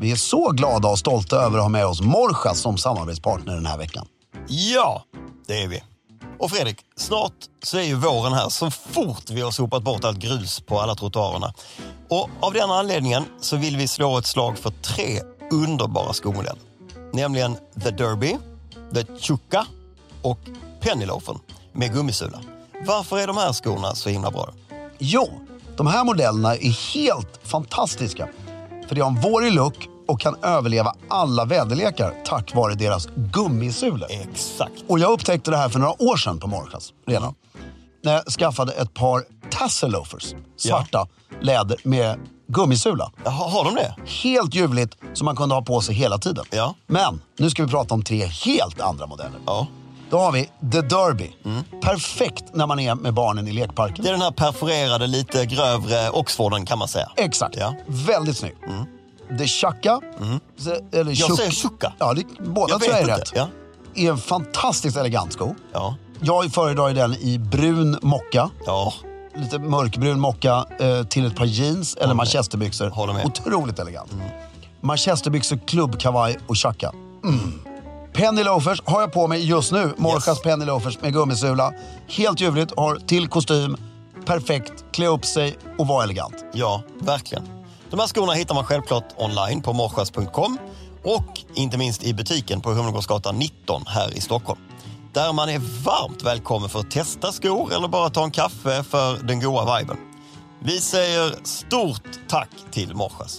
Vi är så glada och stolta över att ha med oss Morja som samarbetspartner den här veckan. Ja, det är vi. Och Fredrik, snart så är ju våren här så fort vi har sopat bort allt grus på alla trottoarerna. Och av den anledningen så vill vi slå ett slag för tre underbara skomodeller. Nämligen The Derby, The Chukka och Pennyloafen med gummisula. Varför är de här skorna så himla bra? Jo, de här modellerna är helt fantastiska. För de har en vårig look och kan överleva alla väderlekar tack vare deras gummisulor. Exakt. Och jag upptäckte det här för några år sedan på Morjas redan. När jag skaffade ett par tassel loafers, svarta läder med gummisula. Ha, har de det? Helt ljuvligt som man kunde ha på sig hela tiden. Ja. Men nu ska vi prata om tre helt andra modeller. Ja. Då har vi The Derby. Perfekt när man är med barnen i lekparken. Det är den här perforerade, lite grövre Oxforden kan man säga. Exakt. Ja. Mm. Väldigt snygg. The Chaka. se- Eller Jag Chuk- säger Chukka. Ja, det, båda Jag tror jag är vet inte. rätt. Ja. Är en fantastiskt elegant sko. Ja. Jag föredrar ju den i brun mocka. Ja. Lite mörkbrun mocka eh, till ett par jeans eller manchesterbyxor. Håller med. Otroligt elegant. Manchesterbyxor, klubbkavaj och chacka. Mm. Penny loafers har jag på mig just nu. Morjas Yes. penny loafers med gummisula. Helt ljuvligt, har till kostym. Perfekt, klä upp sig och vara elegant. Ja, verkligen. De här skorna hittar man självklart online på morschas.com och inte minst i butiken på Humlegårdsgatan 19 här i Stockholm. Där man är varmt välkommen för att testa skor eller bara ta en kaffe för den goa viben. Vi säger stort tack till Morschas.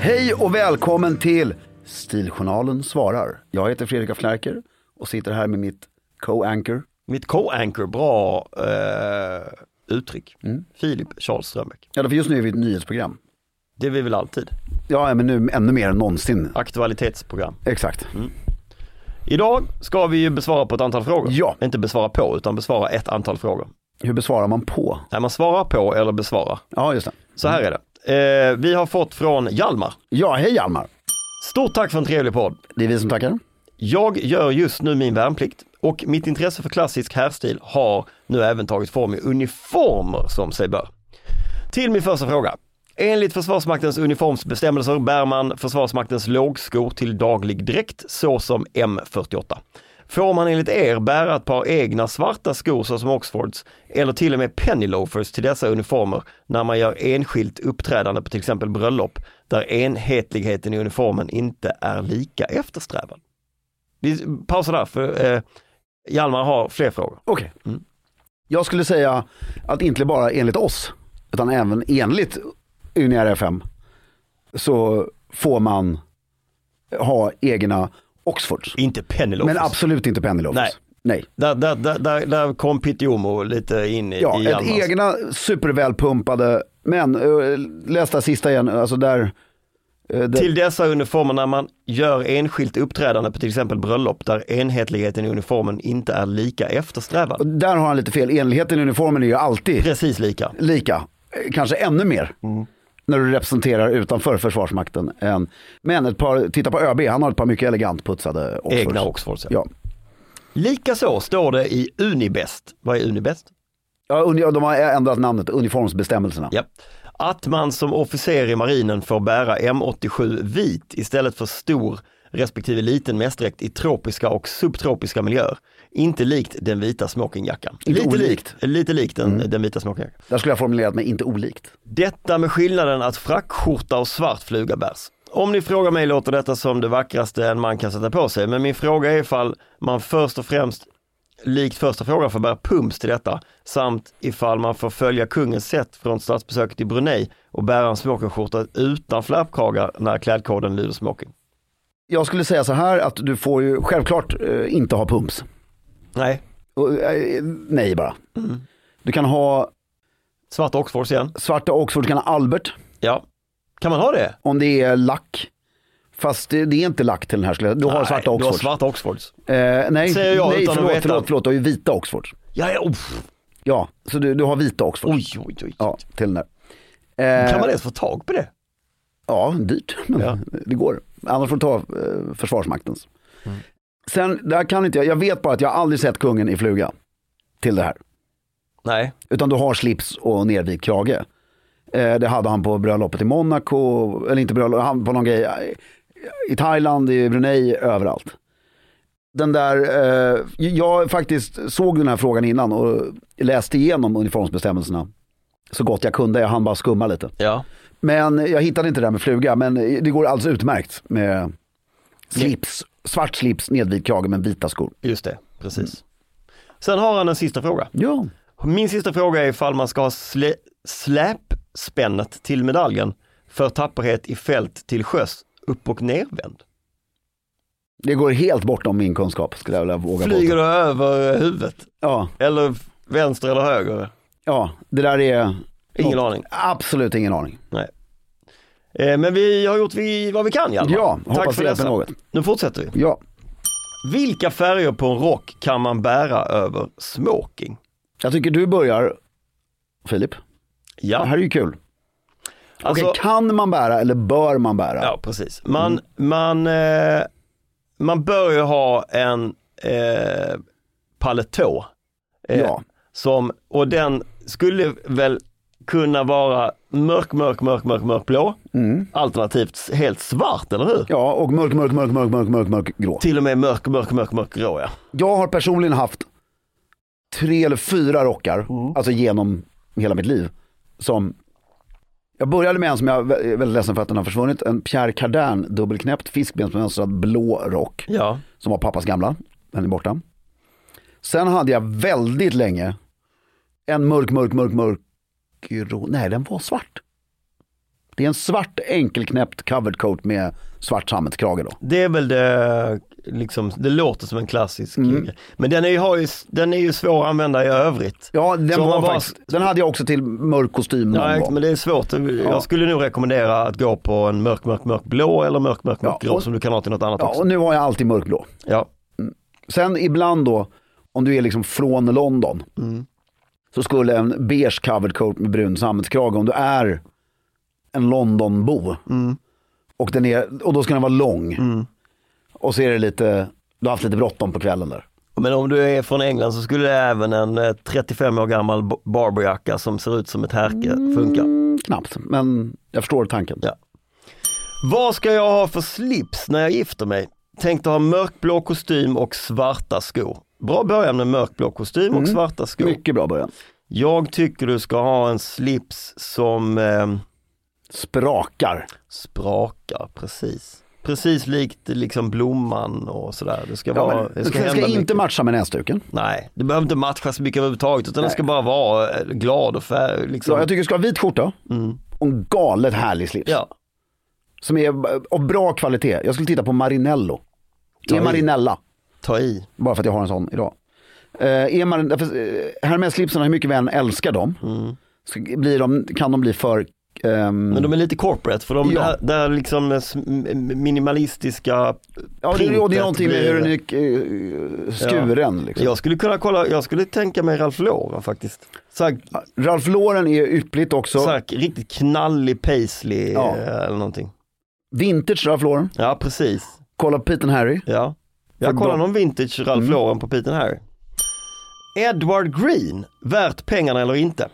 Hej och välkommen till Stiljournalen svarar. Jag heter Fredrik af Klerker och sitter här med mitt co-anchor. Mitt co-anchor, bra eh, uttryck. Mm. Filip Charles Strömbäck. Ja, för just nu är vi ett nyhetsprogram. Det är vi väl alltid. Ja, men nu ännu mer än någonsin. Aktualitetsprogram. Exakt. Idag ska vi ju besvara på ett antal frågor. Ja. Inte besvara på, utan besvara ett antal frågor. Hur besvarar man på? Nej, man svarar på eller besvarar. Ja, just det. Så här är det. Eh, vi har fått från Hjalmar. Ja, hej Hjalmar. Stort tack för en trevlig podd. Det är vi som tackar. Jag gör just nu min värnplikt och mitt intresse för klassisk herrstil har nu även tagit form i uniformer som sig bör. Till min första fråga. Enligt Försvarsmaktens uniformsbestämmelser bär man Försvarsmaktens lågskor till daglig dräkt såsom M48. Får man enligt er bära ett par egna svarta skor såsom Oxfords eller till och med penny loafers till dessa uniformer när man gör enskilt uppträdande på till exempel bröllop där enhetligheten i uniformen inte är lika eftersträvad? Vi pausar där för eh, Hjalmar har fler frågor. Okej. Mm. Jag skulle säga att inte bara enligt oss, utan även enligt Unera FM, så får man ha egna Oxfords. Inte penny loafers. Men absolut inte Penny Loafers. Nej. Nej. Där, där, där, där, där kom Pitjomo lite in i, Ja, i ett Hjalmars. egna supervälpumpade, men eh, läs det här sista igen, alltså där... eh, det- Till dessa uniformer när man gör enskilt uppträdande på till exempel bröllop där enhetligheten i uniformen inte är lika eftersträvad. Där har han lite fel, enligheten i uniformen är ju alltid Precis lika. lika, eh, kanske ännu mer. Mm. När du representerar utanför Försvarsmakten. än- Men ett par, titta på ÖB, han har ett par mycket elegant putsade Oxfords. Egna Oxfords. Ja. Ja. Likaså står det i Unibest. Vad är Unibest? Ja, uni- de har ändrat namnet, uniformsbestämmelserna. Ja. Att man som officer i marinen får bära M87 vit istället för stor respektive liten mästdräkt i tropiska och subtropiska miljöer. Inte likt den vita smokingjackan. Inte lite olikt. Lite likt den, den vita smokingjackan. Där skulle jag formulerat mig inte olikt. Detta med skillnaden att frackskjorta och svart fluga bärs. Om ni frågar mig låter detta som det vackraste en man kan sätta på sig, men min fråga är ifall man först och främst likt första frågan får bära pumps till detta samt ifall man får följa kungens sätt från statsbesöket i Brunei och bära en smokingskjorta utan flappkragar när klädkoden lyder smoking. Jag skulle säga så här att du får ju självklart eh, inte ha pumps. Nej, Och, eh, nej bara. Mm. Du kan ha svarta Oxfords igen. svarta Oxford, du kan ha Albert Ja. Kan man ha det? om det är lack. Fast det, det är inte lack till den här skulle jag Du har Nej, svarta Du har Oxford. svarta Oxfords. Eh, nej, Säger jag nej utan att förlåt, veta. förlåt, förlåt, du har ju vita Oxford. Ja, ja, uff. Ja, så du, du har vita Oxford. Oj, oj, oj. Ja, till den där. Eh, Kan man ens få tag på det? Ja, dyrt, men Ja. det går. Annars får du ta eh, Försvarsmaktens. Sen, där kan inte jag, jag vet bara att jag aldrig sett kungen i fluga till det här. Nej, Utan du har slips och nervikt krage. Eh, det hade han på bröllopet i Monaco, eller inte bröllop, han på någon grej eh, i Thailand, i Brunei, överallt. Den där, eh, jag faktiskt såg den här frågan innan och läste igenom uniformsbestämmelserna så gott jag kunde, jag hann bara skumma lite. ja. Men jag hittade inte det där med fluga, men det går alldeles utmärkt med slips, svart slips, nedvit krage men vita skor. Just det, precis. Mm. Sen har han en sista fråga. Ja. Min sista fråga är ifall man ska ha slä, släpspännet till medaljen för tapperhet i fält till sjöss upp och nervänd. Det går helt bortom min kunskap skulle jag vilja våga Flyger påstå. du över eh, huvudet? Ja, Eller f- vänster eller höger? ja, det där är Ingen något- aning. Absolut ingen aning. Nej. Eh, Men vi har gjort vi, vad vi kan Hjalmar. Ja, Tack hoppas för det hjälper dessa. något. Nu fortsätter vi. Ja, Vilka färger på en rock kan man bära över smoking? jag tycker du börjar Filip. Det Ja, här är ju kul. alltså, Okej, kan man bära eller bör man bära? ja precis. Man, man, eh, man bör ju ha en eh, paletå. eh, Ja. Som, och den skulle väl kunna vara mörk, mörk, mörk, mörk, mörk blå. Alternativt helt svart, eller hur? ja, och mörk, mörk, mörk, mörk, mörk, mörk, mörk grå. Till och med mörk, mörk, mörk, mörk grå ja. Jag har personligen haft tre eller fyra rockar, Mm. alltså genom hela mitt liv. Som, jag började med en som jag är vä- väldigt ledsen för att den har försvunnit, en Pierre Cardin dubbelknäppt fiskbensmönstrad blå rock Ja, som var pappas gamla, den är borta. Sen hade jag väldigt länge en mörk, mörk, mörk, mörk, grå, nej den var svart. Det är en svart enkelknäppt covered coat med svart sammetskrage då. det är väl det, liksom, det låter som en klassisk grej. Men den är, ju, har ju, den är ju svår att använda i övrigt. Ja, den, Så om var man bara- faktiskt, den hade jag också till mörk kostym någon Ja, gång. men det är svårt. Jag skulle nog rekommendera att gå på en mörk, mörk, mörk blå eller mörk, mörk, mörk Ja, grå och- som du kan ha till något annat Ja, också. och nu har jag alltid mörkblå. Ja. Sen ibland då, om du är liksom från London, Mm. så skulle en beige covered coat med brun sammetskrage, om du är en Londonbo, Mm. och, den är, och då ska den vara lång. Och så är det lite, du har haft lite bråttom på kvällen där. Men om du är från England så skulle även en eh, 35 år gammal b- barberjacka som ser ut som ett härke funka. Mm, knappt, men jag förstår tanken. Ja. Vad ska jag ha för slips när jag gifter mig? Tänkte ha mörkblå kostym och svarta skor. Bra början med mörkblå kostym och Mm. svarta skor. Mycket bra början. Jag tycker du ska ha en slips som eh, Sprakar. sprakar, precis. Precis likt liksom blomman och sådär. Det ska, Ja, vara, men, det det ska ska, hända inte mycket. matcha med näsduken. Nej, det behöver inte matcha så mycket överhuvudtaget utan den Nej. ska bara vara eh, glad och färg. Liksom. Så Ja, Mm. jag tycker du ska ha vit skjorta och en galet härlig slips. Som är av bra kvalitet. Jag skulle titta på Marinello. Ta Är i. Marinella, ta i. bara för att jag har en sån idag. Eh, är Marin, därför, eh, Hermes-slipsarna, hur mycket vi än älskar dem, så blir de, kan de bli för... ehm, Mm. Men de är lite corporate för de Ja. där, där liksom eh, sm- m- minimalistiska ja, det, och det printet är någonting med hur blir- den är eh, skuren. Liksom. Jag skulle kunna kolla, jag skulle tänka mig Ralph Lauren faktiskt. Så här, Ralph Lauren är yppligt också. så här, riktigt knallig paisley Ja. eh, eller någonting. Vintage Ralph Lauren. Ja precis. Kolla på Pete and Harry. Ja. Jag För Mm. kollar de- någon vintage Ralph Lauren på Pete and Harry. Edward Green, värt pengarna eller inte?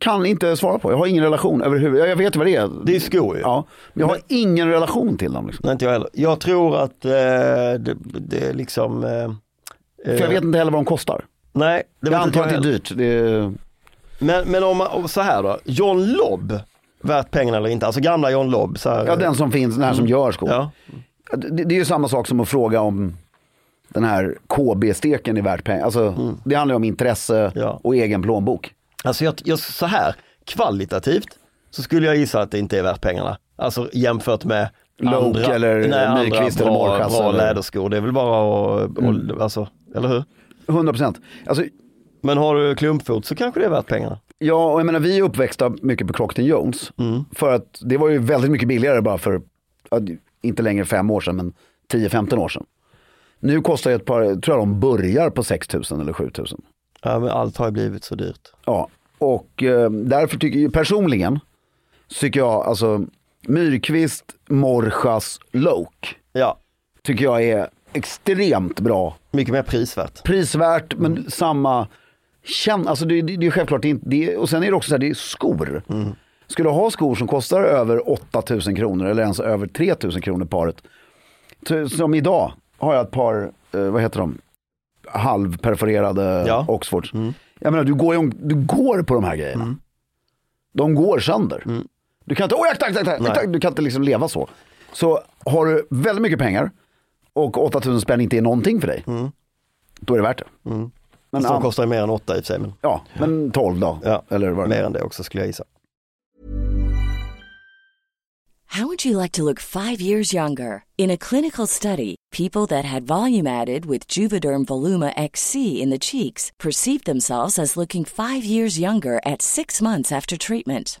Kan inte svara på, jag har ingen relation överhuvudtaget. Jag vet vad det är. Det är skor ju. Ja, men jag har Men- ingen relation till dem. Liksom. Nej, inte jag heller. Jag tror att eh, det, det är liksom... Eh, För jag vet inte heller vad de kostar. Nej, det Jag vet inte antar jag att det är heller. dyrt. Det är... Men, men om man, om så här då, John Lobb, värt pengarna eller inte? Alltså gamla John Lobb. Så här, Mm. Ja, den som finns, den här som gör skor. Ja. Det, det är ju samma sak som att fråga om den här KB-steken är värt pengar. Alltså, Det handlar ju om intresse Ja. och egen plånbok. Alltså jag, jag, så här, kvalitativt så skulle jag gissa att det inte är värt pengarna. Alltså jämfört med Loke andra, eller nej, andra Nyqvist eller bra, Mårchans bra eller- Mm. läderskor. Det är väl bara att, och, alltså, eller hur? 100%. Alltså, Men har du klumpfot så kanske det är värt pengarna. ja, och jag menar, vi är uppväxta mycket på Crockton Jones. För att det var ju väldigt mycket billigare bara för, ja, inte längre fem år sedan, men 10-15 år sedan. Nu kostar ju ett par, tror jag de börjar på 6 000 eller 7 000. Ja, men allt har ju blivit så dyrt. Ja, och eh, därför tycker jag personligen, så tycker jag alltså Myrkvist, Morchas, Loke Ja, tycker jag är extremt bra. mycket mer prisvärt. Prisvärt men samma känn, alltså det, det, det är självklart det är inte, det, är- och sen är det också så här, det är skor. Ska du ha skor som kostar över 8000 kronor eller ens över 3000 kronor paret. Så- Som idag har jag ett par, eh, vad heter de, halvperforerade Ja. Oxfords. Jag menar du går, ju om, du går på de här grejerna. De går sönder. Du kan inte, oj, tack, tack, tack, tack, du kan inte liksom leva så. Så har du väldigt mycket pengar och 8000 spänn inte är någonting för dig. Då är det värt det. Men, Som an- Mm. kostar ju mer än åtta i och för sig. Men, ja, men 12 då. ja, Eller vad det mer än det också skulle jag gissa. How would you like to look five years younger? In a clinical study, people that had volume added with Juvederm Voluma XC in the cheeks perceived themselves as looking five years younger at six months after treatment.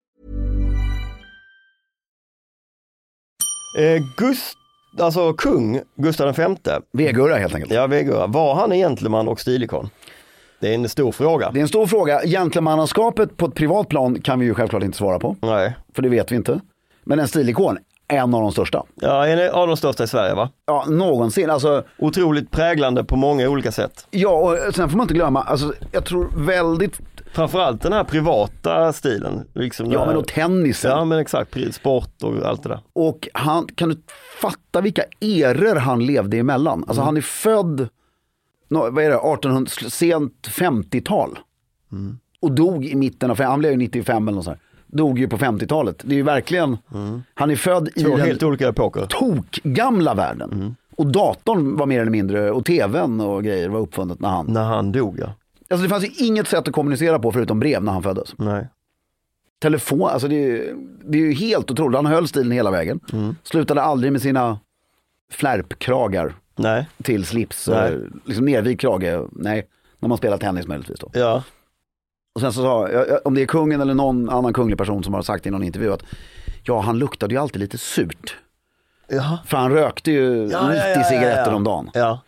Eh, Gust, alltså kung Gustav V, Vegurra helt enkelt. ja Vegura, var han en gentleman och stilikon? Det är en stor fråga. Det är en stor fråga. Gentlemannaskapet på ett privat plan kan vi ju självklart inte svara på. Nej. För det vet vi inte. Men en stilikon, en av de största. Ja, en av de största i Sverige va? Ja, någonsin. Alltså, Otroligt präglande på många olika sätt. ja, och sen får man inte glömma, alltså, jag tror väldigt, Framförallt den här privata stilen. ja Liksom den men här- och tennisen. Ja men exakt, pri- sport och allt det där. Och han, kan du fatta vilka eror han levde emellan? Alltså han är född, nå, vad är det, 1800, sl- sent 50-tal. Och dog i mitten av, han blev ju 95 eller något sånt. här. Dog ju på 50-talet. Det är ju verkligen, han är född i Två den helt olika epoker. tokgamla världen. Och datorn var mer eller mindre, och tvn och grejer var uppfunnet när han... När han dog ja. Alltså det fanns ju inget sätt att kommunicera på förutom brev när han föddes. Nej. Telefon, alltså det är, ju- det är ju helt otroligt. Han höll stilen hela vägen. Mm. Slutade aldrig med sina flärpkragar Nej, till slips. Nej. eh, Liksom nervig krage, nej. När man spelar tennis möjligtvis då. ja. Och sen så sa, jag- jag- om det är kungen eller någon annan kunglig person som har sagt i någon intervju att ja han luktade ju alltid lite surt. Jaha. För han rökte ju 90 cigaretter ja. om dagen. Ja,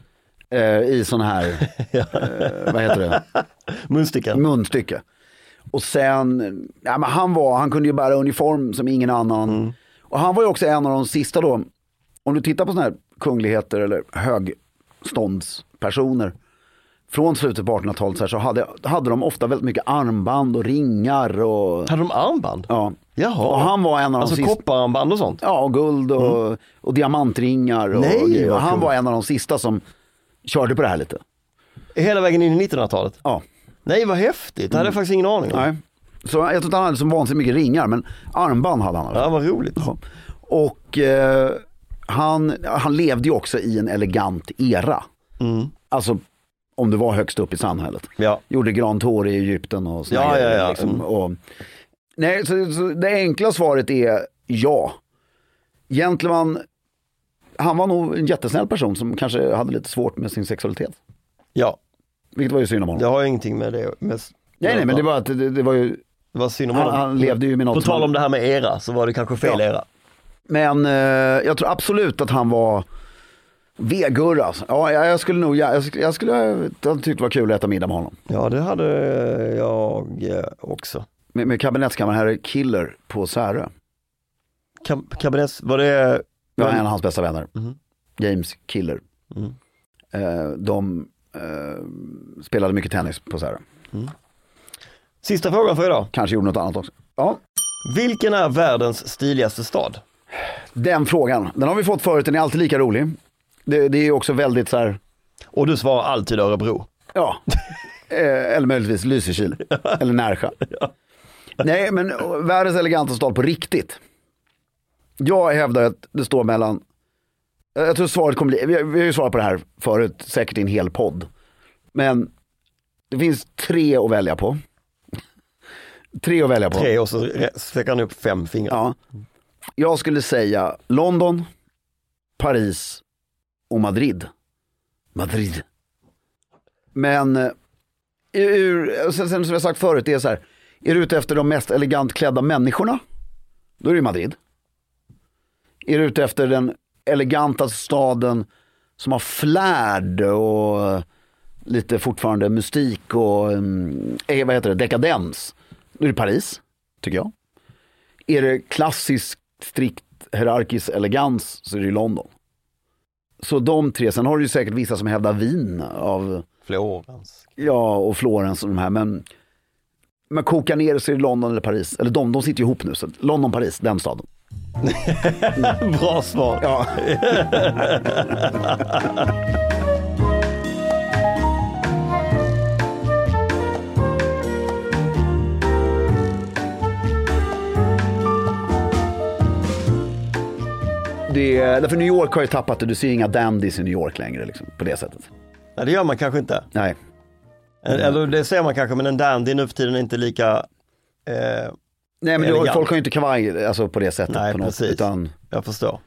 eh, i sån här, eh, vad heter det, munsticka. munstycke. Och sen, ja, men han, var, han kunde ju bära uniform som ingen annan. Mm. Och han var ju också en av de sista då, om du tittar på såna här kungligheter eller högståndspersoner från slutet på 1800-talet så, här, så hade, hade de ofta väldigt mycket armband och ringar och Hade de armband? ja. Jaha. Och han var en av de Alltså sista. koppararmband och sånt? Ja, och guld och, och diamantringar. Och, Nej, grejer. och vad han coolt. var en av de sista som körde på det här lite. Hela vägen in i 1900-talet? Ja. Nej vad häftigt, det hade jag faktiskt ingen aning om. Mm. Nej. Så jag tror inte han hade så vansinnigt mycket ringar men armband hade han. i alla fall. Ja vad roligt. Ja. Och eh, han, han levde ju också i en elegant era. Mm. Alltså om du var högst upp i samhället. Ja. Gjorde grant hår i Egypten och sådana Ja, ja, grejer, ja. Liksom. Mm. Och, nej, så, så det enkla svaret är ja. Gentleman, han var nog en jättesnäll person som kanske hade lite svårt med sin sexualitet. ja, Vilket var ju synd om honom. det har ju ingenting med det med, nej, nej, men det var, att det, det var ju, det var synd om han, honom. han levde ju med något. På som tal han- om det här med era så var det kanske fel Ja. era. Men eh, jag tror absolut att han var V-Gurra. Alltså. Ja, jag, jag skulle nog, jag, jag skulle, jag skulle ha tyckt det var kul att äta middag med honom. Ja det hade jag eh, också. Med, med kabinettskammarherre Killer på Särö. Kab- Kabinets, var det, Jag var Men- en av hans bästa vänner. Mhm. James Killer. Mm. Eh, de eh, spelade mycket tennis på Särö. sista frågan för idag. Kanske gjorde något annat också. Ja, Vilken är världens stiligaste stad? den frågan. Den har vi fått förut, den är alltid lika rolig. Det, det är ju också väldigt så här, Och du svarar alltid Örebro. Ja, Eh, eller möjligtvis Lysekil. Eller Närsjö. Nej, men världens elegantaste stad på riktigt. Jag hävdar att det står mellan, jag tror svaret kommer bli, vi har vi har ju svarat på det här förut, säkert i en hel podd. Men det finns tre att välja på. Tre att välja på. Tre och så re- sträcker han upp fem fingrar. Ja. Jag skulle säga London, Paris och Madrid. Madrid. Men eh, ur, sen, sen som jag sagt förut, det är så här. Är du ute efter de mest elegant klädda människorna, då är det ju Madrid. Är du ute efter den elegantaste staden som har flärd och eh, lite fortfarande mystik och mm, eh, vad heter det, dekadens, då är det Paris, tycker jag. Är det klassisk, strikt, hierarkisk elegans så är det ju London. Så de tre, sen har du ju säkert vissa som hävdar Wien av, Florens. ja och Florens och de här men men koka ner det så är det London eller Paris, eller de, de sitter ju ihop nu så London, Paris, den staden. Bra svar. Ja. Det är, därför New York har ju tappat det, du ser ju inga dandies i New York längre liksom, på det sättet. Nej det gör man kanske inte. Nej, Eller det ser man kanske men en dandy nu för tiden är inte lika, eh, Nej men du, Elegant. folk har ju inte kavaj alltså, på det sättet. Nej, på något, precis. Utan, jag förstår.